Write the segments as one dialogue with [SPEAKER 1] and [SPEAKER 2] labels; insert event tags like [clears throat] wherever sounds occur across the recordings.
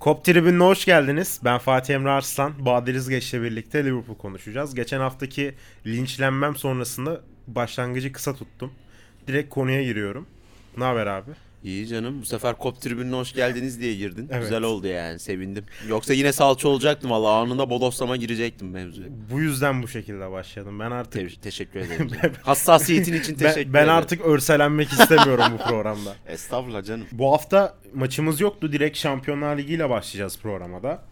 [SPEAKER 1] Kop Tribünü'ne hoş geldiniz. Ben Fatih Emre Arslan. Badir İzgeç'le birlikte Liverpool konuşacağız. Geçen haftaki linçlenmem sonrasında başlangıcı kısa tuttum. Direkt konuya giriyorum. Ne haber abi?
[SPEAKER 2] İyi canım. Bu sefer kop tribününe hoş geldiniz diye girdin.
[SPEAKER 1] Evet.
[SPEAKER 2] Güzel oldu yani. Sevindim. Yoksa yine salça olacaktım valla. Anında bodoslama girecektim mevzuya.
[SPEAKER 1] Bu yüzden bu şekilde başladım. Ben artık [laughs]
[SPEAKER 2] Te- teşekkür ederim. canım. Hassasiyetin için
[SPEAKER 1] ben,
[SPEAKER 2] teşekkür ederim.
[SPEAKER 1] ben artık
[SPEAKER 2] [laughs]
[SPEAKER 1] örselenmek istemiyorum bu programda.
[SPEAKER 2] Estağfurullah canım.
[SPEAKER 1] Bu hafta maçımız yoktu. Direkt Şampiyonlar Ligi ile başlayacağız programada.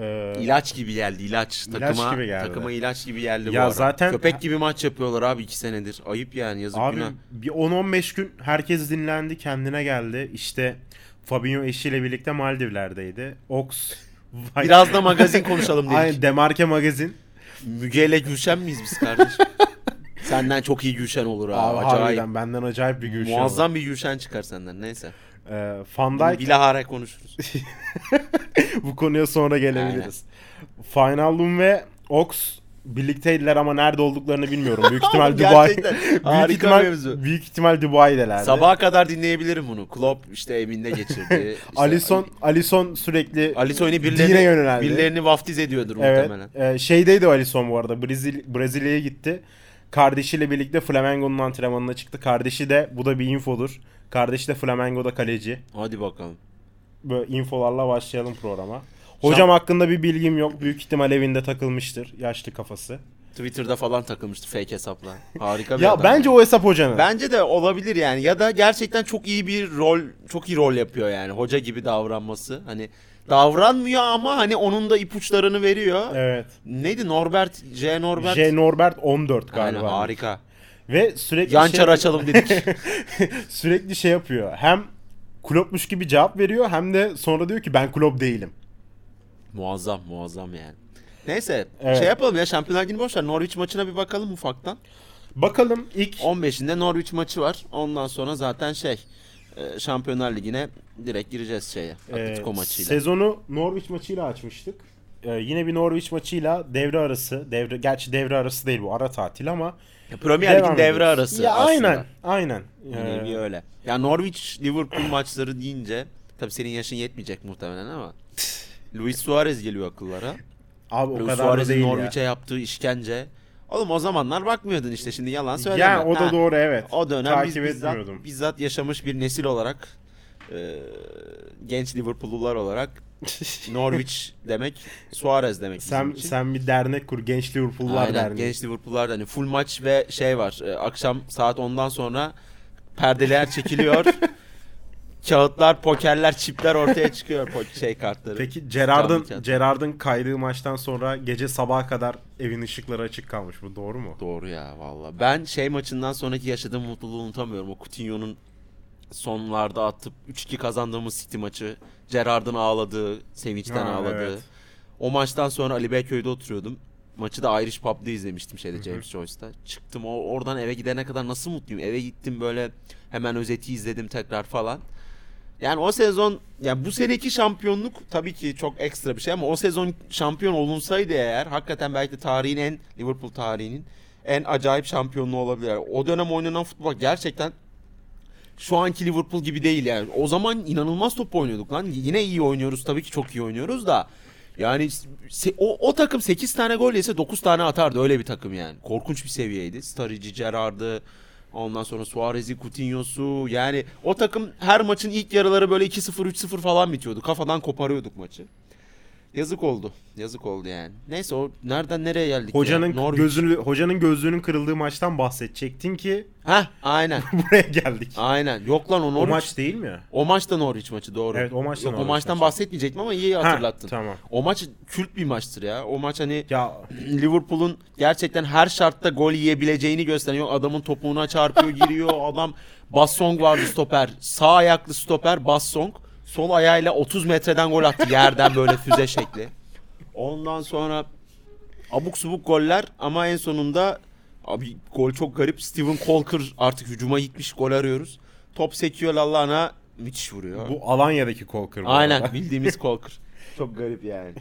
[SPEAKER 1] Ee,
[SPEAKER 2] İlaç gibi geldi ilaç. Takıma,
[SPEAKER 1] gibi geldi.
[SPEAKER 2] Takıma ilaç gibi geldi
[SPEAKER 1] Ya
[SPEAKER 2] bu ara.
[SPEAKER 1] zaten-
[SPEAKER 2] Köpek gibi maç yapıyorlar abi iki senedir. Ayıp yani yazık
[SPEAKER 1] Abi
[SPEAKER 2] günah.
[SPEAKER 1] bir 10-15 gün herkes dinlendi, kendine geldi. İşte Fabinho eşiyle birlikte Maldivler'deydi. Ox Vay- [laughs]
[SPEAKER 2] Biraz da magazin konuşalım dedik.
[SPEAKER 1] Aynen Demarke magazin.
[SPEAKER 2] Müge ile Gülşen miyiz
[SPEAKER 1] [laughs]
[SPEAKER 2] biz kardeşim? Senden çok iyi Gülşen olur abi.
[SPEAKER 1] Abi,
[SPEAKER 2] Acayip.
[SPEAKER 1] harbiden benden acayip bir gülüş.
[SPEAKER 2] Muazzam bir Gülşen çıkar senden. Neyse.
[SPEAKER 1] oldu. Ee, Van
[SPEAKER 2] Bunu
[SPEAKER 1] Dijk
[SPEAKER 2] bilahare konuşuruz.
[SPEAKER 1] bu konuya sonra gelebiliriz. Finalum ve Ox birlikteydiler ama nerede olduklarını bilmiyorum.
[SPEAKER 2] [laughs]
[SPEAKER 1] Büyük ihtimal Dubai.
[SPEAKER 2] Gerçekten.
[SPEAKER 1] büyük
[SPEAKER 2] Harika
[SPEAKER 1] ihtimal,
[SPEAKER 2] mevzu.
[SPEAKER 1] büyük ihtimal Dubai'delerdi.
[SPEAKER 2] Sabaha kadar dinleyebilirim bunu. Klopp işte evinde geçirdi.
[SPEAKER 1] [laughs]
[SPEAKER 2] İşte
[SPEAKER 1] Alison Alison sürekli
[SPEAKER 2] Alisson'u
[SPEAKER 1] Dine
[SPEAKER 2] birilerini,
[SPEAKER 1] yöneldi.
[SPEAKER 2] birilerini vaftiz ediyordur
[SPEAKER 1] Evet.
[SPEAKER 2] muhtemelen.
[SPEAKER 1] e, şeydeydi o Alisson bu arada. Brezil Brezilya'ya gitti. Kardeşiyle birlikte Flamengo'nun antrenmanına çıktı. Kardeşi de bu da bir infodur. Kardeşi de Flamengo'da kaleci.
[SPEAKER 2] Hadi bakalım.
[SPEAKER 1] Böyle infolarla başlayalım programa. Hocam hakkında bir bilgim yok. Büyük ihtimal evinde takılmıştır. Yaşlı kafası.
[SPEAKER 2] Twitter'da falan takılmıştı fake hesapla. Harika bir
[SPEAKER 1] Ya
[SPEAKER 2] adam.
[SPEAKER 1] bence o hesap hocanın.
[SPEAKER 2] Bence de olabilir yani ya da gerçekten çok iyi bir rol çok iyi rol yapıyor yani hoca gibi davranması hani davranmıyor ama hani onun da ipuçlarını veriyor.
[SPEAKER 1] Evet.
[SPEAKER 2] Neydi Norbert J Norbert
[SPEAKER 1] J. Norbert 14
[SPEAKER 2] Aynen,
[SPEAKER 1] galiba.
[SPEAKER 2] harika.
[SPEAKER 1] Ve sürekli
[SPEAKER 2] Yan
[SPEAKER 1] şey-
[SPEAKER 2] çar
[SPEAKER 1] [laughs]
[SPEAKER 2] açalım dedik.
[SPEAKER 1] sürekli şey yapıyor. Hem Klopp'muş gibi cevap veriyor hem de sonra diyor ki ben Klopp değilim.
[SPEAKER 2] Muazzam muazzam yani. [laughs] Neyse
[SPEAKER 1] Evet.
[SPEAKER 2] şey yapalım ya Şampiyonlar Ligi'ni boş ver. Norwich maçına bir bakalım ufaktan.
[SPEAKER 1] Bakalım ilk
[SPEAKER 2] 15'inde Norwich maçı var. Ondan sonra zaten şey e, Şampiyonlar Ligi'ne direkt gireceğiz şeye. Atletico
[SPEAKER 1] Ee,
[SPEAKER 2] maçıyla.
[SPEAKER 1] Sezonu Norwich maçıyla açmıştık. Ee, yine bir Norwich maçıyla devre arası, devre gerçi devre arası değil bu ara tatil ama
[SPEAKER 2] Ya, Premier Lig'in
[SPEAKER 1] devam
[SPEAKER 2] devre
[SPEAKER 1] ediyoruz.
[SPEAKER 2] arası
[SPEAKER 1] Ya
[SPEAKER 2] aslında.
[SPEAKER 1] aynen, aynen.
[SPEAKER 2] Yani
[SPEAKER 1] Ee,
[SPEAKER 2] bir öyle. Ya Norwich Liverpool [clears throat] maçları deyince tabii senin yaşın yetmeyecek
[SPEAKER 1] [laughs]
[SPEAKER 2] muhtemelen ama Luis Suarez geliyor akıllara.
[SPEAKER 1] abi o
[SPEAKER 2] Luis
[SPEAKER 1] kadar da
[SPEAKER 2] Suarez'in
[SPEAKER 1] değil
[SPEAKER 2] Norwich'e
[SPEAKER 1] ya.
[SPEAKER 2] yaptığı işkence. Oğlum o zamanlar bakmıyordun işte şimdi yalan söyleme.
[SPEAKER 1] Yani o da
[SPEAKER 2] Ha.
[SPEAKER 1] doğru evet.
[SPEAKER 2] O dönem biz
[SPEAKER 1] Takip
[SPEAKER 2] bizzat,
[SPEAKER 1] etmiyordum. [laughs]
[SPEAKER 2] bizzat yaşamış bir nesil olarak e, genç Liverpool'lular olarak
[SPEAKER 1] [laughs]
[SPEAKER 2] Norwich demek Suarez demek bizim
[SPEAKER 1] Sen
[SPEAKER 2] için.
[SPEAKER 1] sen bir dernek kur Genç Liverpool'lar
[SPEAKER 2] Aynen,
[SPEAKER 1] Derneği.
[SPEAKER 2] genç Liverpool'lar hani full maç ve şey var e, akşam saat 10'dan sonra
[SPEAKER 1] [laughs]
[SPEAKER 2] perdeler çekiliyor. Kağıtlar, pokerler, çipler ortaya çıkıyor po- şey kartları.
[SPEAKER 1] Peki Gerard'ın
[SPEAKER 2] Canlı
[SPEAKER 1] Gerard'ın kaydığı maçtan sonra gece sabaha kadar evin ışıkları açık kalmış. Bu doğru mu?
[SPEAKER 2] Doğru ya valla. Ben şey maçından sonraki yaşadığım mutluluğu unutamıyorum. O Coutinho'nun sonlarda atıp 3-2 kazandığımız City maçı. Gerard'ın ağladığı, sevinçten
[SPEAKER 1] Ha,
[SPEAKER 2] ağladığı.
[SPEAKER 1] evet.
[SPEAKER 2] O maçtan sonra Ali Beyköy'de oturuyordum. Maçı da Irish Pub'da izlemiştim şeyde James Joyce'da. Çıktım o oradan eve gidene kadar nasıl mutluyum. Eve gittim böyle hemen özeti izledim tekrar falan. Yani o sezon yani bu seneki şampiyonluk tabii ki çok ekstra bir şey ama o sezon şampiyon olunsaydı eğer hakikaten belki de tarihin en Liverpool tarihinin en acayip şampiyonluğu olabilir. Yani o dönem oynanan futbol gerçekten şu anki Liverpool gibi değil yani. O zaman inanılmaz top oynuyorduk lan. Yine iyi oynuyoruz tabii ki çok iyi oynuyoruz da. Yani se- o, o takım 8 tane gol yese 9 tane atardı öyle bir takım yani. Korkunç bir seviyeydi. Sturridge'i, Gerrard'ı, ondan sonra Suarez'i, Coutinho'su. Yani o takım her maçın ilk yarıları böyle 2-0, 3-0 falan bitiyordu. Kafadan koparıyorduk maçı. Yazık oldu. Yazık oldu yani. Neyse o nereden nereye geldik ya?
[SPEAKER 1] Hocanın
[SPEAKER 2] Norwich.
[SPEAKER 1] gözünü hocanın gözlüğünün kırıldığı maçtan bahsedecektin ki [laughs]
[SPEAKER 2] Heh aynen.
[SPEAKER 1] buraya geldik.
[SPEAKER 2] Aynen. Yok lan o
[SPEAKER 1] O
[SPEAKER 2] Norwich.
[SPEAKER 1] maç değil mi?
[SPEAKER 2] O maç da Norwich maçı doğru.
[SPEAKER 1] Evet, o maç da
[SPEAKER 2] Yok, o
[SPEAKER 1] Norwich
[SPEAKER 2] maçtan
[SPEAKER 1] maçı.
[SPEAKER 2] bahsetmeyecektim ama iyi hatırlattın.
[SPEAKER 1] Ha, tamam.
[SPEAKER 2] O maç kült bir maçtır ya. O maç hani
[SPEAKER 1] Ya
[SPEAKER 2] Liverpool'un gerçekten her şartta gol yiyebileceğini gösteriyor. Adamın topuğuna çarpıyor, giriyor. Adam Bassong vardı stoper. Sağ ayaklı stoper Bassong. Sol ayağıyla 30 metreden gol attı yerden böyle füze şekli. Ondan sonra abuk subuk goller ama en sonunda abi gol çok garip. Steven Colker artık hücuma gitmiş gol arıyoruz. Top sekiyor Lallana müthiş vuruyor.
[SPEAKER 1] bu Alanya'daki kol kırma.
[SPEAKER 2] Aynen [laughs] bildiğimiz Colker. Çok garip yani.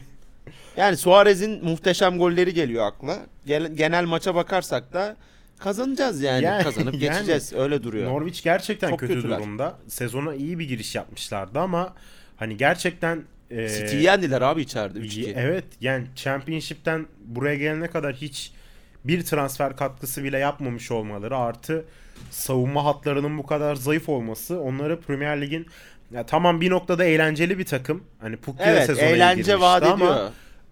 [SPEAKER 2] Yani Suarez'in muhteşem golleri geliyor akla. Gel- genel maça bakarsak da kazanacağız yani.
[SPEAKER 1] Yani-
[SPEAKER 2] Kazanıp geçeceğiz. Öyle
[SPEAKER 1] [laughs]
[SPEAKER 2] duruyor.
[SPEAKER 1] Norwich gerçekten
[SPEAKER 2] Çok
[SPEAKER 1] kötü
[SPEAKER 2] kötüler.
[SPEAKER 1] durumda. Sezona iyi bir giriş yapmışlardı ama hani gerçekten e,
[SPEAKER 2] City'yi yendiler abi içeride 3-2.
[SPEAKER 1] Evet yani Championship'ten buraya gelene kadar hiç bir transfer katkısı bile yapmamış olmaları artı savunma hatlarının bu kadar zayıf olması onları Premier Lig'in ya tamam bir noktada eğlenceli bir takım. Hani Pukki de
[SPEAKER 2] Evet,
[SPEAKER 1] sezona iyi
[SPEAKER 2] eğlence
[SPEAKER 1] girmişti
[SPEAKER 2] vaat
[SPEAKER 1] ama,
[SPEAKER 2] ediyor.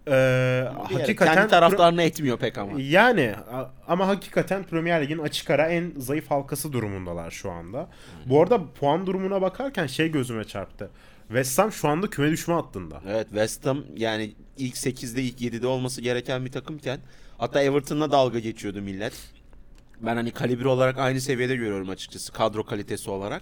[SPEAKER 1] e,
[SPEAKER 2] Bir yere
[SPEAKER 1] hakikaten
[SPEAKER 2] kendi taraftarını etmiyor pek ama.
[SPEAKER 1] yani a- ama hakikaten Premier Lig'in açık ara en zayıf halkası durumundalar şu anda. Bu arada puan durumuna bakarken şey gözüme çarptı. West Ham şu anda küme düşme hattında.
[SPEAKER 2] Evet West Ham yani ilk 8'de ilk 7'de olması gereken bir takımken hatta Everton'la dalga geçiyordu millet. Ben hani kalibre olarak aynı seviyede görüyorum açıkçası kadro kalitesi olarak.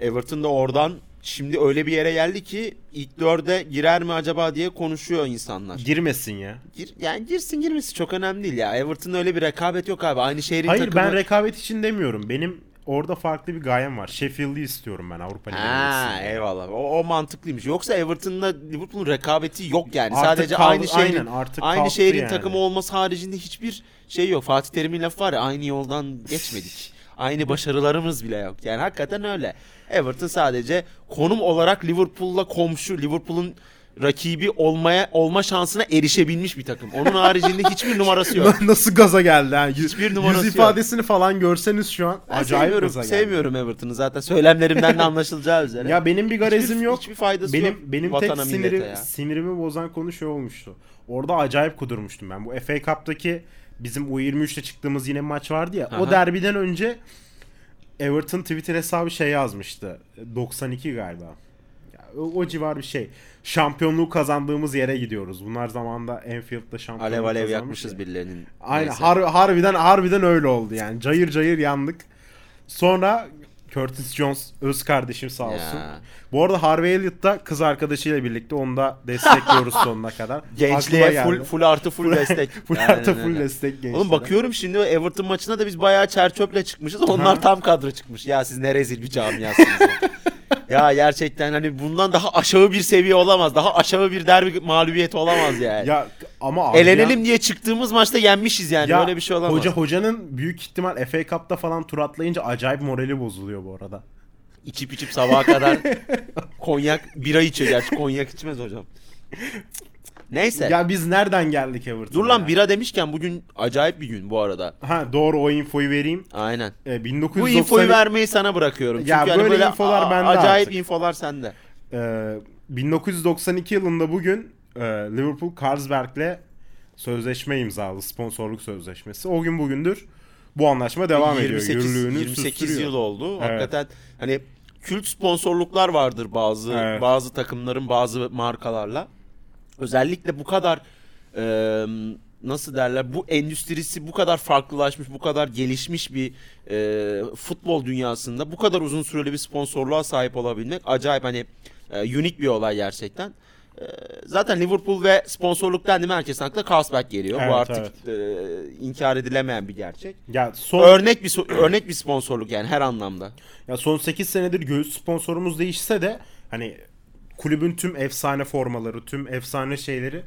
[SPEAKER 2] Ee, Everton da oradan şimdi öyle bir yere geldi ki ilk 4'e girer mi acaba diye konuşuyor insanlar.
[SPEAKER 1] Girmesin ya.
[SPEAKER 2] Gir, yani girsin girmesi çok önemli değil ya. Everton'da öyle bir rekabet yok abi. Aynı şehrin
[SPEAKER 1] Hayır
[SPEAKER 2] takımı.
[SPEAKER 1] ben rekabet için demiyorum. Benim orada farklı bir gayem var. Sheffield'i istiyorum ben Avrupa Ligi'ne
[SPEAKER 2] Ha
[SPEAKER 1] gitsin diye.
[SPEAKER 2] eyvallah. O, o mantıklıymış. Yoksa Everton'la Liverpool'un rekabeti yok yani.
[SPEAKER 1] Artık
[SPEAKER 2] Sadece
[SPEAKER 1] kaldı-
[SPEAKER 2] aynı şehrin
[SPEAKER 1] aynen, artık
[SPEAKER 2] aynı
[SPEAKER 1] kalktı
[SPEAKER 2] şehrin
[SPEAKER 1] yani.
[SPEAKER 2] takımı olması haricinde hiçbir şey yok. Fatih Terim'in lafı var ya aynı yoldan geçmedik. aynı başarılarımız bile yok. Yani hakikaten öyle. Everton sadece konum olarak Liverpool'la komşu, Liverpool'un rakibi olmaya olma şansına erişebilmiş bir takım. Onun haricinde hiçbir
[SPEAKER 1] [laughs]
[SPEAKER 2] numarası yok.
[SPEAKER 1] Nasıl gaza geldi ha? Yüz,
[SPEAKER 2] Hiçbir numarası
[SPEAKER 1] yüz
[SPEAKER 2] yok.
[SPEAKER 1] ifadesini falan görseniz şu an
[SPEAKER 2] Ben
[SPEAKER 1] acayip
[SPEAKER 2] sevmiyorum,
[SPEAKER 1] gaza geldi.
[SPEAKER 2] sevmiyorum Everton'ı zaten söylemlerimden de anlaşılacağı üzere.
[SPEAKER 1] Ya benim bir garezim
[SPEAKER 2] Hiçbir-
[SPEAKER 1] yok.
[SPEAKER 2] hiçbir faydası
[SPEAKER 1] benim,
[SPEAKER 2] yok
[SPEAKER 1] Benim
[SPEAKER 2] vatana,
[SPEAKER 1] tek
[SPEAKER 2] millete
[SPEAKER 1] sinirim,
[SPEAKER 2] ya.
[SPEAKER 1] sinirimi bozan konu şey olmuştu. Orada acayip kudurmuştum ben. Bu FA Cup'taki bizim U23'te çıktığımız yine bir maç vardı ya. O
[SPEAKER 2] Aha.
[SPEAKER 1] derbiden önce Everton Twitter hesabı şey yazmıştı. 92 galiba. Ya, o, o civar bir şey. Şampiyonluğu kazandığımız yere gidiyoruz. Bunlar zamanda Enfield'da şampiyonluğu
[SPEAKER 2] Alev alev
[SPEAKER 1] kazanmış
[SPEAKER 2] yakmışız
[SPEAKER 1] ya.
[SPEAKER 2] birilerinin.
[SPEAKER 1] Aynen
[SPEAKER 2] Neyse.
[SPEAKER 1] har- harbiden harbiden öyle oldu yani. Cayır cayır yandık. Sonra Curtis Jones öz kardeşim sağ olsun.
[SPEAKER 2] Ya.
[SPEAKER 1] Bu arada Harvey Elliott da kız arkadaşıyla birlikte onu da
[SPEAKER 2] [laughs]
[SPEAKER 1] destekliyoruz sonuna kadar.
[SPEAKER 2] Gençliğe
[SPEAKER 1] Aklıma
[SPEAKER 2] full,
[SPEAKER 1] geldi.
[SPEAKER 2] full artı full destek.
[SPEAKER 1] [laughs] full
[SPEAKER 2] Aynen
[SPEAKER 1] artı
[SPEAKER 2] öyle.
[SPEAKER 1] full destek gençlere.
[SPEAKER 2] Oğlum bakıyorum şimdi Everton maçına da biz bayağı çer çöple çıkmışız. Onlar tam kadro çıkmış. Ya siz ne rezil bir camiasınız
[SPEAKER 1] [laughs]
[SPEAKER 2] ya. ya gerçekten hani bundan daha aşağı bir seviye olamaz. Daha aşağı bir derbi mağlubiyeti olamaz yani.
[SPEAKER 1] Ya ama abi
[SPEAKER 2] Elenelim diye çıktığımız maçta yenmişiz yani.
[SPEAKER 1] ya
[SPEAKER 2] Böyle bir şey olamaz.
[SPEAKER 1] Hoca hocanın büyük ihtimal FA Cup'ta falan tur atlayınca acayip morali bozuluyor bu arada.
[SPEAKER 2] İçip içip
[SPEAKER 1] [laughs]
[SPEAKER 2] sabaha kadar konyak bira içiyor gerçi. Konyak içmez hocam. Neyse.
[SPEAKER 1] Ya biz nereden geldik Everton'a?
[SPEAKER 2] Dur lan
[SPEAKER 1] ya?
[SPEAKER 2] bira demişken bugün acayip bir gün bu arada.
[SPEAKER 1] Ha doğru o infoyu vereyim.
[SPEAKER 2] Aynen.
[SPEAKER 1] Ee,
[SPEAKER 2] Bu
[SPEAKER 1] 1990
[SPEAKER 2] infoyu vermeyi sana bırakıyorum. Çünkü
[SPEAKER 1] Ya
[SPEAKER 2] hani
[SPEAKER 1] böyle
[SPEAKER 2] böyle
[SPEAKER 1] infolar
[SPEAKER 2] a-
[SPEAKER 1] bende
[SPEAKER 2] Acayip
[SPEAKER 1] artık.
[SPEAKER 2] infolar sende.
[SPEAKER 1] Ee, 1992 yılında bugün e, Liverpool Carlsberg'le sözleşme imzaladı. Sponsorluk sözleşmesi. O gün bugündür bu anlaşma
[SPEAKER 2] E,
[SPEAKER 1] devam ediyor.
[SPEAKER 2] 28,
[SPEAKER 1] Yürürlüğünü
[SPEAKER 2] 28
[SPEAKER 1] sürdürüyor.
[SPEAKER 2] yıl oldu. Hakikaten hani kült sponsorluklar vardır bazı
[SPEAKER 1] Evet.
[SPEAKER 2] bazı takımların bazı markalarla. Özellikle bu kadar e, nasıl derler bu endüstrisi bu kadar farklılaşmış, bu kadar gelişmiş bir e, futbol dünyasında bu kadar uzun süreli bir sponsorluğa sahip olabilmek acayip hani e, unik bir olay gerçekten. E, Zaten Liverpool ve sponsorluk dendi mi herkesin aklına Carlsberg geliyor.
[SPEAKER 1] Evet,
[SPEAKER 2] Bu artık e, inkar edilemeyen bir gerçek.
[SPEAKER 1] Ya son
[SPEAKER 2] Örnek bir so- örnek bir sponsorluk yani her anlamda.
[SPEAKER 1] ya son 8 senedir göğüs sponsorumuz değişse de hani kulübün tüm efsane formaları, tüm efsane şeyleri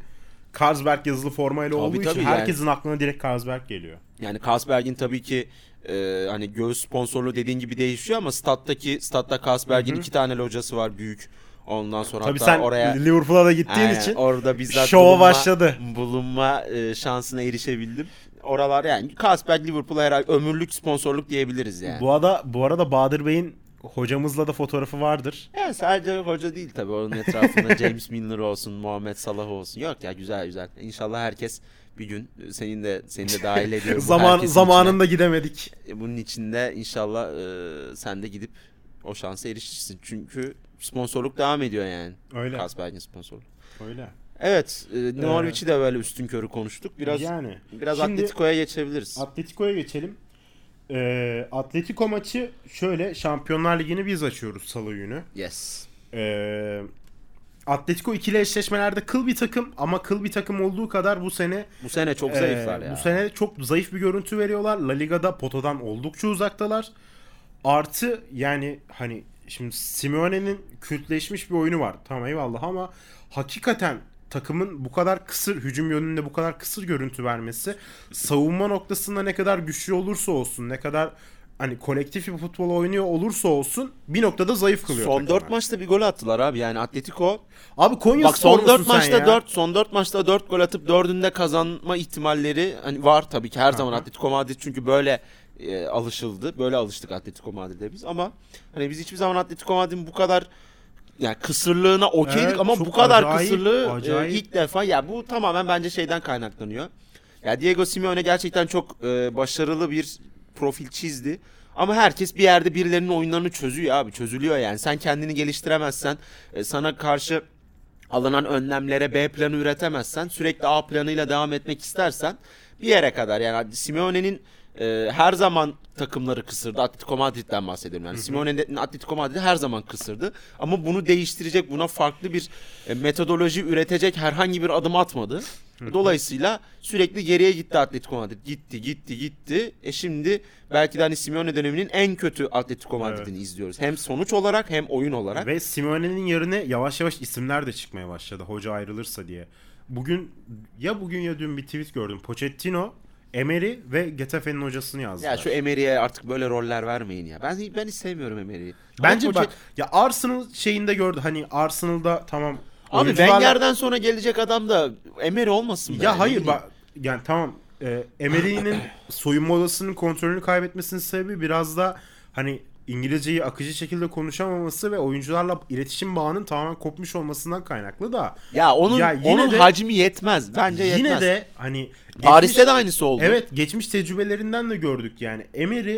[SPEAKER 1] Carlsberg yazılı formayla
[SPEAKER 2] Tabii,
[SPEAKER 1] olduğu için
[SPEAKER 2] tabii yani.
[SPEAKER 1] herkesin aklına direkt Carlsberg geliyor.
[SPEAKER 2] Yani Carlsberg'in tabii ki e, hani göğüs sponsorluğu dediğin gibi değişiyor ama stat'taki statta Carlsberg'in iki tane locası var büyük. Ondan sonra
[SPEAKER 1] Tabii
[SPEAKER 2] hatta
[SPEAKER 1] sen
[SPEAKER 2] oraya
[SPEAKER 1] Liverpool'a da gittiğin
[SPEAKER 2] Aynen,
[SPEAKER 1] için
[SPEAKER 2] orada bizzat
[SPEAKER 1] şova
[SPEAKER 2] bulunma,
[SPEAKER 1] başladı.
[SPEAKER 2] Bulunma e, şansına erişebildim. Oralar yani Carlsberg Liverpool'a herhalde ömürlük sponsorluk diyebiliriz yani.
[SPEAKER 1] bu arada bu arada Bahadır Bey'in hocamızla da fotoğrafı vardır.
[SPEAKER 2] Yani sadece hoca değil tabii
[SPEAKER 1] [laughs]
[SPEAKER 2] onun etrafında James Milner olsun, Muhammed Salah olsun. Yok ya güzel güzel. İnşallah herkes bir gün senin de seni de dahil ediyorum. bu
[SPEAKER 1] Zaman
[SPEAKER 2] herkesin
[SPEAKER 1] zamanında gidemedik.
[SPEAKER 2] içine. E, bunun içinde inşallah e, sen de gidip o şansa erişirsin. Çünkü sponsorluk devam ediyor yani.
[SPEAKER 1] Öyle.
[SPEAKER 2] Carlsberg'in sponsorluğu.
[SPEAKER 1] Öyle.
[SPEAKER 2] Evet, e, Norwich'i de böyle üstün körü konuştuk. Biraz
[SPEAKER 1] yani
[SPEAKER 2] biraz
[SPEAKER 1] Şimdi
[SPEAKER 2] Atletico'ya geçebiliriz.
[SPEAKER 1] Atletico'ya geçelim. Ee, Atletico maçı şöyle Şampiyonlar Ligi'ni biz açıyoruz salı günü.
[SPEAKER 2] yes.
[SPEAKER 1] Ee, Atletico ikili eşleşmelerde kıl bir takım ama kıl bir takım olduğu kadar bu sene
[SPEAKER 2] Bu sene çok
[SPEAKER 1] Ee,
[SPEAKER 2] zayıflar ya.
[SPEAKER 1] Bu sene çok zayıf bir görüntü veriyorlar. La Liga'da potadan oldukça uzaktalar. Artı yani hani şimdi Simeone'nin kültleşmiş bir oyunu var. Tamam eyvallah ama hakikaten takımın bu kadar kısır hücum yönünde bu kadar kısır görüntü vermesi savunma noktasında ne kadar güçlü olursa olsun ne kadar hani kolektif bir futbol oynuyor olursa olsun bir noktada zayıf kılıyor.
[SPEAKER 2] Son 4
[SPEAKER 1] takımlar.
[SPEAKER 2] maçta bir gol attılar abi yani Atletico.
[SPEAKER 1] Abi Konya
[SPEAKER 2] Bak son 4 maçta
[SPEAKER 1] 4
[SPEAKER 2] 4 son 4 maçta 4 gol atıp 4'ünde kazanma ihtimalleri hani var tabii ki her zaman Atletico Madrid çünkü böyle e, alışıldı. Böyle alıştık Atletico Madrid'e biz ama hani biz hiçbir zaman Atletico Madrid'in bu kadar yani kısırlığına okeydik
[SPEAKER 1] Evet,
[SPEAKER 2] ama
[SPEAKER 1] çok
[SPEAKER 2] bu kadar
[SPEAKER 1] acayip,
[SPEAKER 2] kısırlığı e,
[SPEAKER 1] acayip.
[SPEAKER 2] ilk defa ya bu tamamen bence şeyden kaynaklanıyor. Ya Diego Simeone gerçekten çok e, başarılı bir profil çizdi. Ama herkes bir yerde birilerinin oyunlarını çözüyor abi. Çözülüyor yani. Sen kendini geliştiremezsen, e, sana karşı alınan önlemlere B planı üretemezsen, sürekli A planıyla devam etmek istersen bir yere kadar yani Simeone'nin e, her zaman takımları kısırdı. Atletico Madrid'den bahsediyorum yani. Simeone'nin Atletico Madrid'i her zaman kısırdı. Ama bunu değiştirecek, buna farklı bir e, metodoloji üretecek herhangi bir adım atmadı. Dolayısıyla sürekli geriye gitti Atletico Madrid. Gitti, gitti, gitti. E şimdi belki de hani Simeone döneminin en kötü Atletico Madrid'ini izliyoruz. Hem sonuç olarak hem oyun olarak.
[SPEAKER 1] Ve Simone'nin yerine yavaş yavaş isimler de çıkmaya başladı hoca ayrılırsa diye. Bugün ya bugün ya dün bir tweet gördüm. Pochettino, Emery ve Getafe'nin hocasını yazdılar.
[SPEAKER 2] Ya şu Emery'e artık böyle roller vermeyin ya. Ben ben hiç sevmiyorum Emery'i.
[SPEAKER 1] Bence
[SPEAKER 2] Ama
[SPEAKER 1] bak
[SPEAKER 2] Poche-
[SPEAKER 1] ya Arsenal şeyinde gördü hani Arsenal'da tamam
[SPEAKER 2] Abi
[SPEAKER 1] oyuncularla-
[SPEAKER 2] Wenger'den sonra gelecek adam da Emery olmasın. be, ne
[SPEAKER 1] Ya hayır
[SPEAKER 2] bileyim.
[SPEAKER 1] bak yani tamam e, Emery'nin
[SPEAKER 2] [clears throat]
[SPEAKER 1] soyunma odasının kontrolünü kaybetmesinin sebebi biraz da hani İngilizceyi akıcı şekilde konuşamaması ve oyuncularla iletişim bağının tamamen kopmuş olmasından kaynaklı da
[SPEAKER 2] Ya onun
[SPEAKER 1] Ya yine
[SPEAKER 2] onun
[SPEAKER 1] de-
[SPEAKER 2] hacmi yetmez. Bence
[SPEAKER 1] yine
[SPEAKER 2] yetmez.
[SPEAKER 1] de hani
[SPEAKER 2] Paris'te
[SPEAKER 1] geçmiş-
[SPEAKER 2] de aynısı oldu.
[SPEAKER 1] Evet geçmiş tecrübelerinden de gördük yani. Emery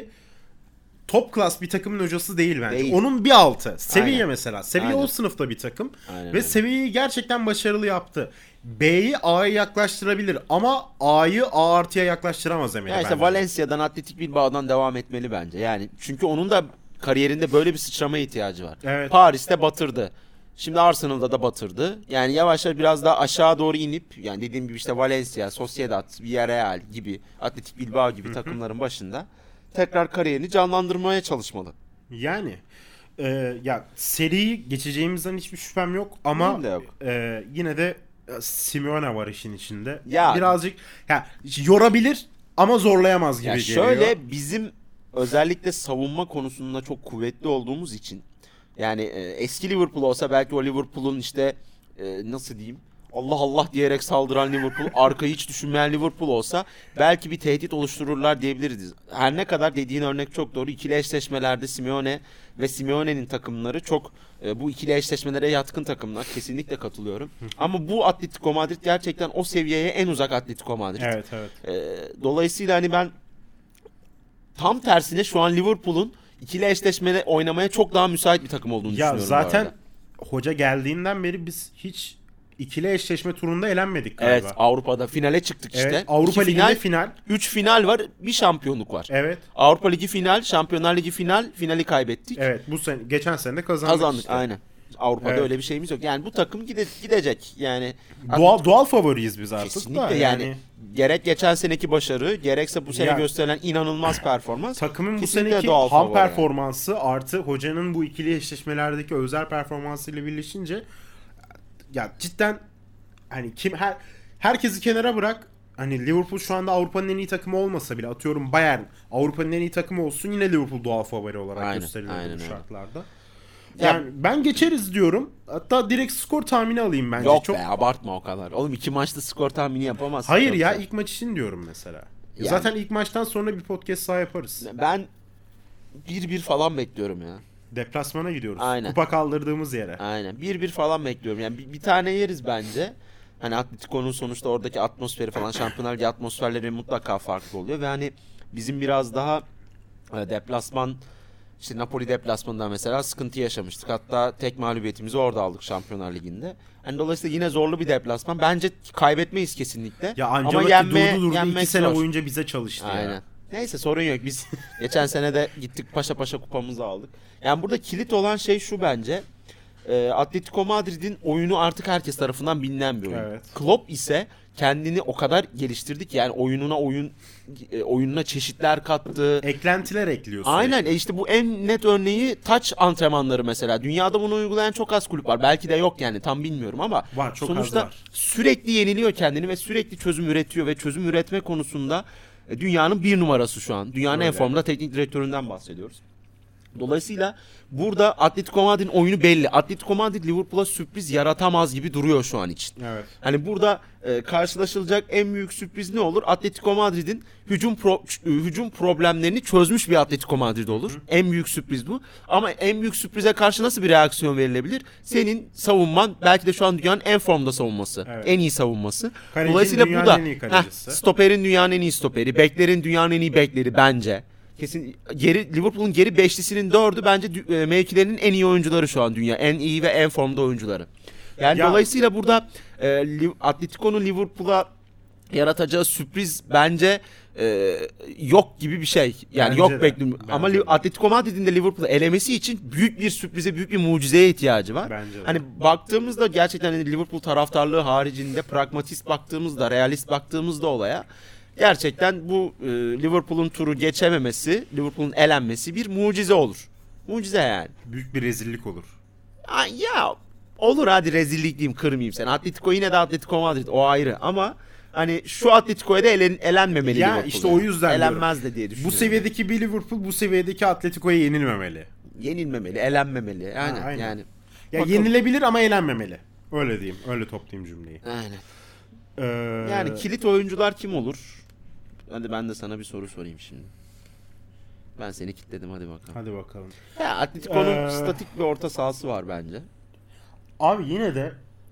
[SPEAKER 1] top klas bir takımın hocası değil bence.
[SPEAKER 2] Değil.
[SPEAKER 1] Onun bir altı. Seviye
[SPEAKER 2] Aynen.
[SPEAKER 1] mesela. Seviye
[SPEAKER 2] Aynen.
[SPEAKER 1] o sınıfta bir takım.
[SPEAKER 2] Aynen
[SPEAKER 1] Ve
[SPEAKER 2] öyle.
[SPEAKER 1] seviyeyi gerçekten başarılı yaptı. B'yi A'ya yaklaştırabilir ama A'yı A artıya yaklaştıramaz Emery
[SPEAKER 2] Ya işte
[SPEAKER 1] bence.
[SPEAKER 2] Valencia'dan Atletik Bilbao'dan devam etmeli bence. Yani çünkü onun da kariyerinde böyle bir sıçramaya ihtiyacı var.
[SPEAKER 1] Evet.
[SPEAKER 2] Paris'te batırdı. Şimdi Arsenal'da da batırdı. Yani yavaş yavaş biraz daha aşağı doğru inip yani dediğim gibi işte Valencia, Sociedad, Villarreal gibi Atletik Bilbao gibi takımların başında tekrar kariyerini canlandırmaya çalışmalı.
[SPEAKER 1] Yani e, ya seriyi geçeceğimizden hiçbir şüphem yok ama
[SPEAKER 2] Benim de yok.
[SPEAKER 1] e, yine de e, Simeone var işin içinde.
[SPEAKER 2] Ya-
[SPEAKER 1] Birazcık ya yorabilir ama zorlayamaz gibi
[SPEAKER 2] Ya
[SPEAKER 1] geliyor.
[SPEAKER 2] şöyle bizim özellikle savunma konusunda çok kuvvetli olduğumuz için yani e, eski Liverpool olsa belki o Liverpool'un işte e, nasıl diyeyim Allah Allah diyerek
[SPEAKER 1] [laughs]
[SPEAKER 2] saldıran Liverpool, arkayı hiç düşünmeyen Liverpool olsa belki bir tehdit oluştururlar diyebiliriz. Her ne kadar dediğin örnek çok doğru. İkili eşleşmelerde Simeone ve Simeone'nin takımları çok e, bu ikili eşleşmelere yatkın takımlar. Kesinlikle katılıyorum. Ama bu Atletico Madrid gerçekten o seviyeye en uzak Atletico Madrid.
[SPEAKER 1] Evet evet.
[SPEAKER 2] Ee, dolayısıyla hani ben tam tersine şu an Liverpool'un ikili eşleşmede oynamaya çok daha müsait bir takım olduğunu
[SPEAKER 1] Ya
[SPEAKER 2] düşünüyorum. bu
[SPEAKER 1] zaten
[SPEAKER 2] arada.
[SPEAKER 1] hoca geldiğinden beri biz hiç ikili eşleşme turunda elenmedik
[SPEAKER 2] evet
[SPEAKER 1] galiba.
[SPEAKER 2] Avrupa'da finale çıktık
[SPEAKER 1] Evet,
[SPEAKER 2] işte.
[SPEAKER 1] Avrupa
[SPEAKER 2] İki
[SPEAKER 1] Ligi'nde
[SPEAKER 2] final,
[SPEAKER 1] final,
[SPEAKER 2] 3 final var, bir şampiyonluk var.
[SPEAKER 1] Evet.
[SPEAKER 2] Avrupa Ligi final, Şampiyonlar Ligi final, finali kaybettik.
[SPEAKER 1] Evet bu sene geçen sene de kazandık.
[SPEAKER 2] Kazandık
[SPEAKER 1] işte.
[SPEAKER 2] aynen. Avrupa'da
[SPEAKER 1] Evet.
[SPEAKER 2] öyle bir şeyimiz yok. Yani bu takım gide- gidecek. Yani
[SPEAKER 1] Doğal doğal favoriyiz biz artık
[SPEAKER 2] kesinlikle
[SPEAKER 1] da.
[SPEAKER 2] yani, gerek geçen seneki başarı, gerekse bu sene
[SPEAKER 1] Ya-
[SPEAKER 2] gösterilen inanılmaz performans
[SPEAKER 1] takımın bu
[SPEAKER 2] kesinlikle
[SPEAKER 1] seneki ham
[SPEAKER 2] doğal favori yani.
[SPEAKER 1] performansı artı hocanın bu ikili eşleşmelerdeki özel performansıyla birleşince ya cidden hani kim her herkesi kenara bırak hani Liverpool şu anda Avrupa'nın en iyi takımı olmasa bile atıyorum Bayern Avrupa'nın en iyi takımı olsun yine Liverpool doğal favori olarak
[SPEAKER 2] Aynen,
[SPEAKER 1] gösterilir
[SPEAKER 2] aynen
[SPEAKER 1] bu
[SPEAKER 2] öyle.
[SPEAKER 1] şartlarda.
[SPEAKER 2] Ya-
[SPEAKER 1] Yani ben geçeriz diyorum. Hatta direkt skor tahmini alayım bence.
[SPEAKER 2] Yok
[SPEAKER 1] Hani Çok
[SPEAKER 2] be abartma o kadar. Oğlum iki maçta skor tahmini yapamazsın.
[SPEAKER 1] Hayır
[SPEAKER 2] çok
[SPEAKER 1] ya
[SPEAKER 2] sen.
[SPEAKER 1] ilk maç için diyorum mesela.
[SPEAKER 2] Yani-
[SPEAKER 1] Zaten ilk maçtan sonra bir podcast daha yaparız.
[SPEAKER 2] Ben 1-1 falan bekliyorum ya.
[SPEAKER 1] Deplasmana gidiyoruz.
[SPEAKER 2] Aynen.
[SPEAKER 1] Kupa kaldırdığımız yere.
[SPEAKER 2] Aynen 1-1 falan bekliyorum. Yani bir, bir tane yeriz bence. Hani Atletico'nun sonuçta oradaki atmosferi falan Şampiyonlar Ligi atmosferleri mutlaka farklı oluyor. Ve hani bizim biraz daha e, deplasman işte Napoli deplasmanında mesela sıkıntı yaşamıştık. Hatta tek mağlubiyetimizi orada aldık Şampiyonlar Ligi'nde. Hani dolayısıyla yine zorlu bir deplasman. Bence kaybetmeyiz kesinlikle.
[SPEAKER 1] Ya
[SPEAKER 2] Ama
[SPEAKER 1] Ancelotti
[SPEAKER 2] yenme,
[SPEAKER 1] durdu durdu
[SPEAKER 2] yenmek
[SPEAKER 1] 2 sene
[SPEAKER 2] zor.
[SPEAKER 1] boyunca bize çalıştı
[SPEAKER 2] Aynen.
[SPEAKER 1] ya.
[SPEAKER 2] Neyse sorun yok. Biz [laughs] geçen sene de gittik paşa paşa kupamızı aldık. Yani burada kilit olan şey şu bence. Ee, Atletico Madrid'in oyunu artık herkes tarafından bilinen bir oyun.
[SPEAKER 1] Evet.
[SPEAKER 2] Klopp ise kendini o kadar geliştirdi ki yani oyununa oyun e, oyununa çeşitler kattı.
[SPEAKER 1] Eklentiler ekliyorsun.
[SPEAKER 2] Aynen e işte bu en net örneği taç antrenmanları mesela. Dünyada bunu uygulayan çok az kulüp var. Belki de yok yani tam bilmiyorum ama
[SPEAKER 1] Var, çok az
[SPEAKER 2] sonuçta
[SPEAKER 1] var.
[SPEAKER 2] sürekli yeniliyor kendini ve sürekli çözüm üretiyor ve çözüm üretme konusunda E, dünyanın bir numarası şu an. Dünyanın en
[SPEAKER 1] Öyle.
[SPEAKER 2] formda teknik direktöründen bahsediyoruz. Dolayısıyla burada Atletico Madrid'in oyunu belli. Atletico Madrid Liverpool'a sürpriz yaratamaz gibi duruyor şu an için.
[SPEAKER 1] Evet.
[SPEAKER 2] Hani burada e, karşılaşılacak en büyük sürpriz ne olur? Atletico Madrid'in hücum pro- ç- hücum problemlerini çözmüş bir Atletico Madrid olur. En büyük sürpriz bu. Ama en büyük sürprize karşı nasıl bir reaksiyon verilebilir? Senin savunman belki de şu an dünyanın en formda savunması,
[SPEAKER 1] Evet.
[SPEAKER 2] en iyi savunması.
[SPEAKER 1] Kalecinin
[SPEAKER 2] Dolayısıyla
[SPEAKER 1] dünyanın
[SPEAKER 2] bu da
[SPEAKER 1] en iyi kalecisi.
[SPEAKER 2] Heh, stoperin dünyanın en iyi stoperi, beklerin dünyanın en iyi bekleri bence. Kesin geri Liverpool'un geri beşlisinin dördü bence dü- e, mevkilerinin en iyi oyuncuları şu an dünya. En iyi ve en formda oyuncuları. Yani
[SPEAKER 1] Ya-
[SPEAKER 2] dolayısıyla burada e, Liv- Atletico'nun Liverpool'a yaratacağı sürpriz bence e, yok gibi bir şey. Yani
[SPEAKER 1] Bence
[SPEAKER 2] yok
[SPEAKER 1] de,
[SPEAKER 2] bekliyorum.
[SPEAKER 1] bence
[SPEAKER 2] Ama
[SPEAKER 1] de.
[SPEAKER 2] Li- Atletico Madrid'in de Liverpool'u elemesi için büyük bir sürprize, büyük bir mucizeye ihtiyacı var.
[SPEAKER 1] Bence de.
[SPEAKER 2] Hani baktığımızda gerçekten hani Liverpool taraftarlığı haricinde pragmatist baktığımızda, realist baktığımızda olaya gerçekten bu e, Liverpool'un turu geçememesi, Liverpool'un elenmesi bir mucize olur. Mucize yani.
[SPEAKER 1] Büyük bir rezillik olur.
[SPEAKER 2] Ay ya olur hadi rezillik diyeyim kırmayayım seni. Atletico yine de Atletico Madrid o ayrı ama hani şu Atletico'ya da elen, elenmemeli
[SPEAKER 1] Ya
[SPEAKER 2] Liverpool
[SPEAKER 1] işte
[SPEAKER 2] yani.
[SPEAKER 1] o yüzden
[SPEAKER 2] Elenmez de diye
[SPEAKER 1] Bu
[SPEAKER 2] düşünüyorum.
[SPEAKER 1] seviyedeki bir Liverpool bu seviyedeki Atletico'ya yenilmemeli.
[SPEAKER 2] Yenilmemeli, elenmemeli. Yani,
[SPEAKER 1] aynen.
[SPEAKER 2] yani.
[SPEAKER 1] Ya
[SPEAKER 2] Bakalım.
[SPEAKER 1] yenilebilir ama eğlenmemeli. Öyle diyeyim. Öyle toplayayım cümleyi.
[SPEAKER 2] Aynen.
[SPEAKER 1] Ee,
[SPEAKER 2] Yani kilit oyuncular kim olur? Hadi ben de sana bir soru sorayım şimdi. Ben seni kitledim hadi bakalım.
[SPEAKER 1] Hadi bakalım.
[SPEAKER 2] Ya Atletico'nun
[SPEAKER 1] Ee,
[SPEAKER 2] statik bir orta sahası var bence.
[SPEAKER 1] Abi yine de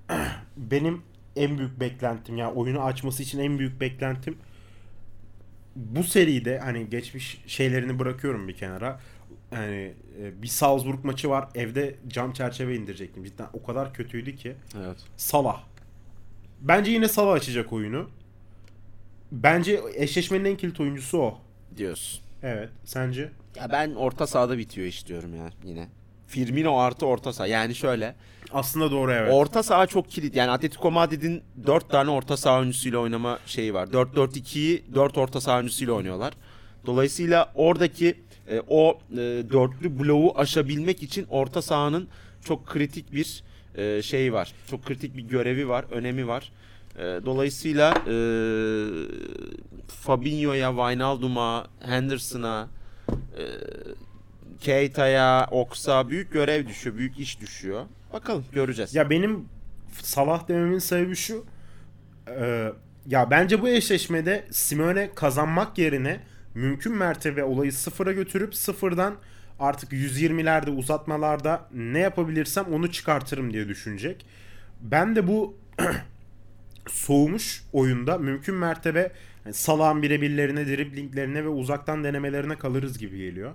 [SPEAKER 1] [clears throat] benim en büyük beklentim ya oyunu açması için en büyük beklentim bu seride hani geçmiş şeylerini bırakıyorum bir kenara. Yani e, bir Salzburg maçı var. Evde cam çerçeve indirecektim. Cidden o kadar kötüydü ki.
[SPEAKER 2] Evet.
[SPEAKER 1] Salah. Bence yine Salah açacak oyunu. Bence eşleşmenin en kilit oyuncusu o.
[SPEAKER 2] Diyorsun.
[SPEAKER 1] Evet. Sence?
[SPEAKER 2] Ya ben orta sahada bitiyor iş diyorum ya yine. Firmino artı orta saha. Yani şöyle.
[SPEAKER 1] Aslında doğru evet.
[SPEAKER 2] Orta saha çok kilit. Yani Atletico Madrid'in 4 tane orta saha oyuncusuyla oynama şeyi var. 4-4-2'yi 4 orta saha oyuncusuyla oynuyorlar. Dolayısıyla oradaki e, o e, dörtlü bloğu aşabilmek için orta sahanın çok kritik bir e, şey var. Çok kritik bir görevi var, önemi var. E, dolayısıyla e, Fabinho'ya, Wijnaldum'a, Henderson'a, e, Keita'ya, Oks'a büyük görev düşüyor, büyük iş düşüyor. Bakalım göreceğiz.
[SPEAKER 1] Ya benim Salah dememin sebebi şu. Ee, ya bence bu eşleşmede Simeone kazanmak yerine mümkün mertebe olayı sıfıra götürüp sıfırdan artık 120'lerde uzatmalarda ne yapabilirsem onu çıkartırım diye düşünecek. Ben de bu [clears throat] soğumuş oyunda mümkün mertebe yani Salah'ın birebirlerine, driblinglerine ve uzaktan denemelerine kalırız gibi geliyor.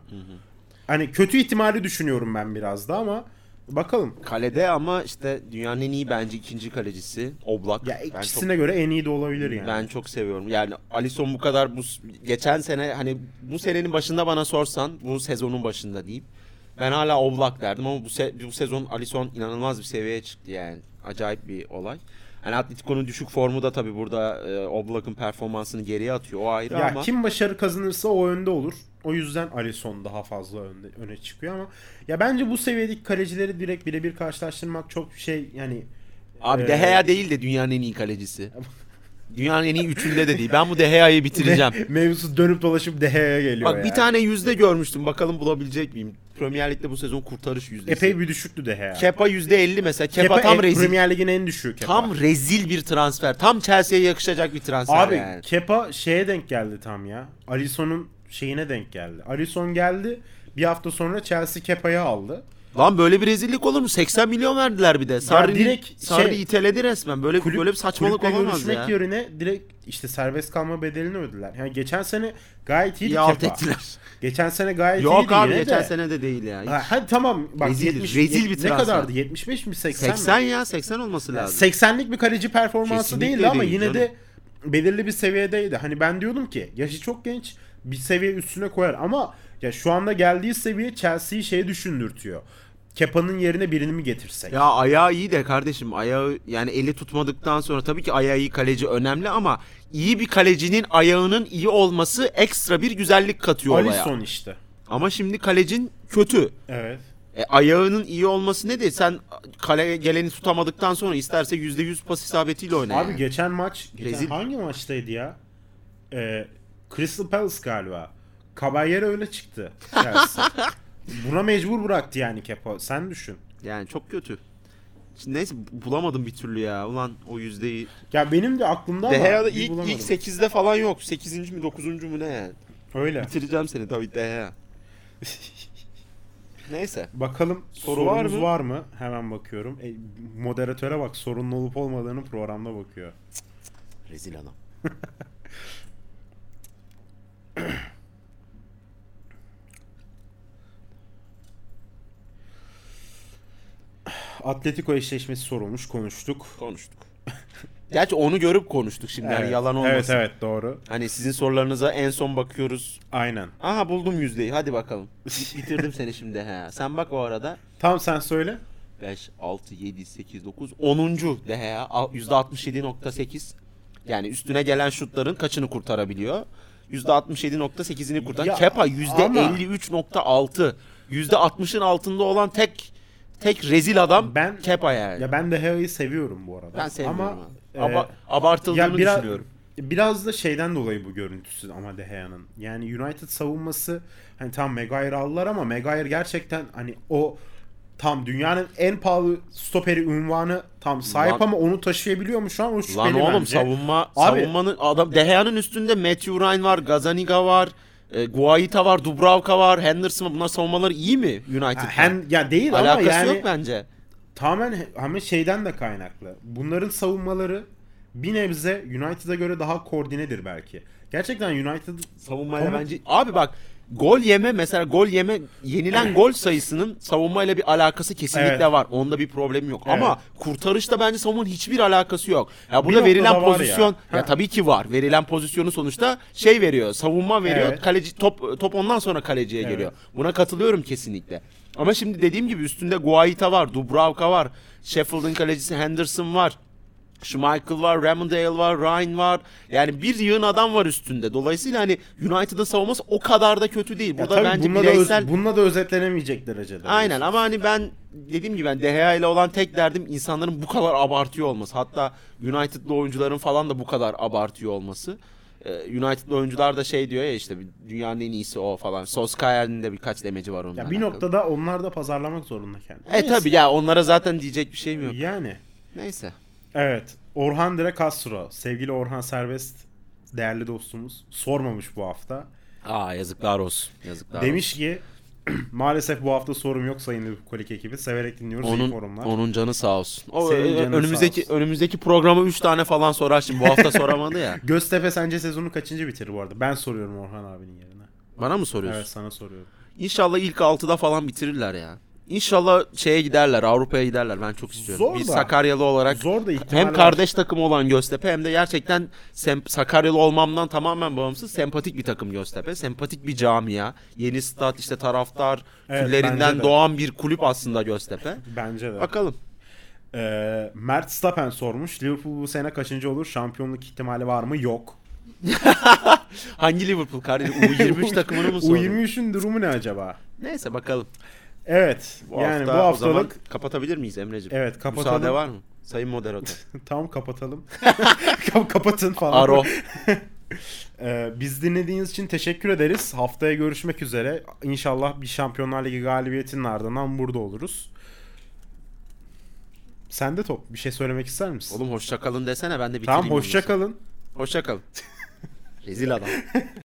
[SPEAKER 1] Hani kötü ihtimali düşünüyorum ben biraz da ama bakalım.
[SPEAKER 2] Kalede ama işte dünyanın en iyi bence ikinci kalecisi Oblak.
[SPEAKER 1] Ya
[SPEAKER 2] ben çok,
[SPEAKER 1] ikisine göre en iyi de olabilir yani.
[SPEAKER 2] ben çok seviyorum. Yani Alisson bu kadar bu geçen sene hani bu senenin başında bana sorsan bu sezonun başında deyip ben hala Oblak derdim ama bu, se- bu sezon Alisson inanılmaz bir seviyeye çıktı yani. Acayip bir olay. Hani Atletico'nun düşük formu da tabii burada e, Oblak'ın performansını geriye atıyor. O ayrı
[SPEAKER 1] ya
[SPEAKER 2] ama.
[SPEAKER 1] kim başarı kazanırsa o önde olur. O yüzden Alisson daha fazla önde, öne çıkıyor ama ya bence bu seviyedeki kalecileri direkt birebir karşılaştırmak çok şey yani
[SPEAKER 2] [laughs] Abi
[SPEAKER 1] Ee,
[SPEAKER 2] De Gea değil de dünyanın en iyi kalecisi. dünyanın en iyi üçünde de değil. Ben bu De
[SPEAKER 1] [laughs]
[SPEAKER 2] Gea'yı bitireceğim.
[SPEAKER 1] mevzusu dönüp dolaşıp deheye geliyor
[SPEAKER 2] Bak bir
[SPEAKER 1] yani.
[SPEAKER 2] tane yüzde görmüştüm. Bakalım bulabilecek miyim? Premier Lig'de bu sezon kurtarış yüzdesi.
[SPEAKER 1] epey bir düşüktü dehe. yani.
[SPEAKER 2] Kepa yüzde elli mesela. Kepa,
[SPEAKER 1] Kepa
[SPEAKER 2] tam
[SPEAKER 1] en-
[SPEAKER 2] rezil.
[SPEAKER 1] Premier Lig'in en düşüğü Kepa.
[SPEAKER 2] Tam rezil bir transfer. Tam Chelsea'ye yakışacak bir transfer
[SPEAKER 1] Abi
[SPEAKER 2] yani.
[SPEAKER 1] Kepa şeye denk geldi tam ya. Alisson'un şeyine denk geldi. Alisson geldi. Bir hafta sonra Chelsea Kepa'yı aldı.
[SPEAKER 2] Lan böyle bir rezillik olur mu? 80 milyon verdiler bir de. Sarri,
[SPEAKER 1] direkt
[SPEAKER 2] Sarri
[SPEAKER 1] şey-
[SPEAKER 2] iteledi resmen. Böyle,
[SPEAKER 1] Kulüp-
[SPEAKER 2] böyle bir saçmalık
[SPEAKER 1] kulüple
[SPEAKER 2] olamaz
[SPEAKER 1] görüşmek
[SPEAKER 2] ya.
[SPEAKER 1] yerine direkt işte serbest kalma bedelini ödediler. Yani geçen sene gayet iyiydi
[SPEAKER 2] İyi alt
[SPEAKER 1] Kepa.
[SPEAKER 2] ettiler.
[SPEAKER 1] Geçen sene gayet
[SPEAKER 2] Yok
[SPEAKER 1] iyiydi
[SPEAKER 2] abi
[SPEAKER 1] yine
[SPEAKER 2] geçen
[SPEAKER 1] de.
[SPEAKER 2] sene de değil ya. Hiç.
[SPEAKER 1] Ha, hadi tamam bak
[SPEAKER 2] Rezil-
[SPEAKER 1] 70,
[SPEAKER 2] rezil
[SPEAKER 1] yet-
[SPEAKER 2] bir
[SPEAKER 1] ne
[SPEAKER 2] transfer.
[SPEAKER 1] kadardı? 75 mi 80,
[SPEAKER 2] 80
[SPEAKER 1] mi?
[SPEAKER 2] ya 80 olması
[SPEAKER 1] Yani
[SPEAKER 2] lazım.
[SPEAKER 1] 80'lik bir kaleci performansı
[SPEAKER 2] Kesinlikle
[SPEAKER 1] değildi ama
[SPEAKER 2] değil
[SPEAKER 1] yine
[SPEAKER 2] canım.
[SPEAKER 1] de belirli bir seviyedeydi. Hani ben diyordum ki yaşı çok genç bir seviye üstüne koyar ama ya şu anda geldiği seviye Chelsea'yi şeye düşündürtüyor. Kepa'nın yerine birini mi getirsek?
[SPEAKER 2] Ya ayağı iyi de kardeşim ayağı yani eli tutmadıktan sonra tabii ki ayağı iyi kaleci önemli ama iyi bir kalecinin ayağının iyi olması ekstra bir güzellik katıyor olaya.
[SPEAKER 1] Alisson işte.
[SPEAKER 2] Ama şimdi kalecin kötü.
[SPEAKER 1] Evet.
[SPEAKER 2] E, ayağının iyi olması ne de sen kale geleni tutamadıktan sonra isterse %100 pas isabetiyle oyna.
[SPEAKER 1] Abi
[SPEAKER 2] yani.
[SPEAKER 1] geçen maç geçen
[SPEAKER 2] Rezil.
[SPEAKER 1] hangi maçtaydı ya? Ee, Crystal Palace galiba. Caballero öyle çıktı. Chelsea. Buna mecbur bıraktı yani Kepa. Sen düşün.
[SPEAKER 2] Yani çok kötü. Şimdi neyse bulamadım bir türlü ya. Ulan o yüzdeyi.
[SPEAKER 1] Ya benim de aklımda ama
[SPEAKER 2] De Gea'da
[SPEAKER 1] bir
[SPEAKER 2] ilk,
[SPEAKER 1] bulamadım.
[SPEAKER 2] ilk 8'de falan yok. 8. mi 9. mu ne yani.
[SPEAKER 1] Öyle.
[SPEAKER 2] Bitireceğim seni David De Gea. [laughs] Neyse.
[SPEAKER 1] Bakalım
[SPEAKER 2] Soru var
[SPEAKER 1] sorumuz var
[SPEAKER 2] mı?
[SPEAKER 1] mı? Hemen bakıyorum. E, moderatöre bak sorunun olup olmadığını programda bakıyor.
[SPEAKER 2] Rezil adam.
[SPEAKER 1] Atletico eşleşmesi sorulmuş konuştuk.
[SPEAKER 2] Konuştuk. [laughs] Gerçi onu görüp konuştuk şimdi. Yani
[SPEAKER 1] Evet.
[SPEAKER 2] yalan olmasın.
[SPEAKER 1] Evet evet doğru.
[SPEAKER 2] Hani sizin sorularınıza en son bakıyoruz.
[SPEAKER 1] Aynen.
[SPEAKER 2] Aha buldum yüzdeyi. Hadi bakalım. Bitirdim seni şimdi. He. Sen bak o arada.
[SPEAKER 1] Tam sen söyle.
[SPEAKER 2] 5, 6, 7, 8, 9, 10. DHA al- %67.8. Yani üstüne gelen şutların kaçını kurtarabiliyor? %67.8'ini
[SPEAKER 1] Ya,
[SPEAKER 2] kurtar. Kepa %53.6. %60'ın altında olan tek tek rezil adam
[SPEAKER 1] Ben-
[SPEAKER 2] Kepa yani.
[SPEAKER 1] Ya ben de Hea'yı seviyorum bu arada.
[SPEAKER 2] ben sevmiyorum.
[SPEAKER 1] Ama
[SPEAKER 2] abi.
[SPEAKER 1] e,
[SPEAKER 2] Aba- abartıldığını
[SPEAKER 1] ya biraz
[SPEAKER 2] düşünüyorum.
[SPEAKER 1] biraz da şeyden dolayı bu görüntüsü ama De Gea'nın. Yani United savunması hani tam Maguire aldılar ama Maguire gerçekten hani o tam dünyanın en pahalı stoperi unvanı tam sahip
[SPEAKER 2] Lan-
[SPEAKER 1] ama onu taşıyabiliyor mu şu an o şüpheli
[SPEAKER 2] Lan oğlum
[SPEAKER 1] bence.
[SPEAKER 2] savunma
[SPEAKER 1] Abi-
[SPEAKER 2] savunmanın adam Deha'nın üstünde Matthew Ryan var, Gazaniga var, e, Guaita var, Dubravka var, Henderson var. Bunlar savunmaları iyi mi United'da?
[SPEAKER 1] Ha, Hem ya değil ama
[SPEAKER 2] Alakası
[SPEAKER 1] yani
[SPEAKER 2] yok bence.
[SPEAKER 1] tamamen he- ama şeyden de kaynaklı. Bunların savunmaları bir nebze United'a göre daha koordinedir belki. Gerçekten United
[SPEAKER 2] Savunmayla
[SPEAKER 1] Ama-
[SPEAKER 2] bence abi bak gol yeme mesela gol yeme yenilen gol sayısının savunmayla bir alakası kesinlikle
[SPEAKER 1] Evet.
[SPEAKER 2] var. Onda bir problem yok.
[SPEAKER 1] Evet.
[SPEAKER 2] Ama kurtarışta bence savunmanın hiçbir alakası yok. Ya
[SPEAKER 1] Bir
[SPEAKER 2] burada
[SPEAKER 1] noktada
[SPEAKER 2] verilen
[SPEAKER 1] var ya.
[SPEAKER 2] pozisyon ya.
[SPEAKER 1] Ha.
[SPEAKER 2] tabii ki var. Verilen pozisyonu sonuçta şey veriyor. Savunma veriyor.
[SPEAKER 1] Evet.
[SPEAKER 2] Kaleci top top ondan sonra kaleciye
[SPEAKER 1] Evet.
[SPEAKER 2] geliyor. Buna katılıyorum kesinlikle. Ama şimdi dediğim gibi üstünde Guaita var, Dubravka var, Sheffield'ın kalecisi Henderson var. Schmeichel var, Ramondale var, Ryan var. Yani bir yığın adam var üstünde. Dolayısıyla hani United'ın savunması o kadar da kötü
[SPEAKER 1] ya
[SPEAKER 2] değil. Burada
[SPEAKER 1] tabii
[SPEAKER 2] bence
[SPEAKER 1] bununla, da
[SPEAKER 2] bireysel...
[SPEAKER 1] öz- bununla da özetlenemeyecek derecede.
[SPEAKER 2] Aynen ama hani ben dediğim gibi ben De Gea ile olan tek derdim insanların bu kadar abartıyor olması. Hatta United'lı oyuncuların falan da bu kadar abartıyor olması. Ee, United'lı oyuncular da şey diyor ya işte dünyanın en iyisi o falan. Solskjaer'in de birkaç demeci var onunla.
[SPEAKER 1] Ya bir
[SPEAKER 2] alakalı.
[SPEAKER 1] noktada onlar da pazarlamak zorunda kendini.
[SPEAKER 2] E tabi ya onlara zaten diyecek bir şeyim yok.
[SPEAKER 1] Yani
[SPEAKER 2] Neyse.
[SPEAKER 1] evet Orhan Dire Castro sevgili Orhan Serbest değerli dostumuz sormamış bu hafta.
[SPEAKER 2] Aa yazıklar olsun. Yazıklar
[SPEAKER 1] Demiş ki [clears throat] maalesef bu hafta sorum yok sayın Kolik ekibi. Severek dinliyoruz iyi
[SPEAKER 2] Onun
[SPEAKER 1] forumlar.
[SPEAKER 2] onun canı sağ olsun. O,
[SPEAKER 1] Senin
[SPEAKER 2] ö-
[SPEAKER 1] canın
[SPEAKER 2] önümüzdeki
[SPEAKER 1] sağ olsun.
[SPEAKER 2] önümüzdeki programa 3 tane falan sorar şimdi. Bu hafta
[SPEAKER 1] [laughs]
[SPEAKER 2] soramadı ya.
[SPEAKER 1] Göztepe sence sezonu kaçıncı bitirir bu arada? Ben soruyorum Orhan abinin yerine.
[SPEAKER 2] Bana mı soruyorsun?
[SPEAKER 1] Evet sana soruyorum.
[SPEAKER 2] İnşallah ilk 6'da falan bitirirler ya. İnşallah şeye giderler, Avrupa'ya giderler. Ben çok istiyorum.
[SPEAKER 1] Zor
[SPEAKER 2] bir
[SPEAKER 1] da-
[SPEAKER 2] Sakaryalı olarak
[SPEAKER 1] Zor da ihtimal
[SPEAKER 2] hem
[SPEAKER 1] var.
[SPEAKER 2] kardeş takım olan Göztepe hem de gerçekten sem- Sakaryalı olmamdan tamamen bağımsız sempatik bir takım Göztepe. Sempatik bir camia. Yeni stat işte taraftar
[SPEAKER 1] Evet, bence
[SPEAKER 2] küllerinden
[SPEAKER 1] de.
[SPEAKER 2] doğan bir kulüp aslında Göztepe.
[SPEAKER 1] Bence de.
[SPEAKER 2] Bakalım.
[SPEAKER 1] Ee, Mert Stappen sormuş. Liverpool bu sene kaçıncı olur? Şampiyonluk ihtimali var mı? Yok.
[SPEAKER 2] Hangi Liverpool kardeşim?
[SPEAKER 1] [laughs]
[SPEAKER 2] U23 takımını mı sordun?
[SPEAKER 1] U23'ün durumu ne acaba?
[SPEAKER 2] Neyse bakalım.
[SPEAKER 1] Evet.
[SPEAKER 2] Bu
[SPEAKER 1] yani bu
[SPEAKER 2] hafta o zaman
[SPEAKER 1] haftalık
[SPEAKER 2] kapatabilir miyiz Emre'cim?
[SPEAKER 1] Evet, kapatalım.
[SPEAKER 2] Müsaade var mı? Sayın moderatör.
[SPEAKER 1] [laughs] tam kapatalım. Kap- Kapatın falan.
[SPEAKER 2] Aro.
[SPEAKER 1] Ee, biz dinlediğiniz için teşekkür ederiz. Haftaya görüşmek üzere. İnşallah bir Şampiyonlar Ligi galibiyetinin ardından burada oluruz. Sen de top bir şey söylemek ister misin?
[SPEAKER 2] Oğlum hoşça kalın desene ben de bitireyim.
[SPEAKER 1] tamam hoşça [laughs]
[SPEAKER 2] ondan sonra.
[SPEAKER 1] kalın.
[SPEAKER 2] Hoşça kalın. Rezil adam.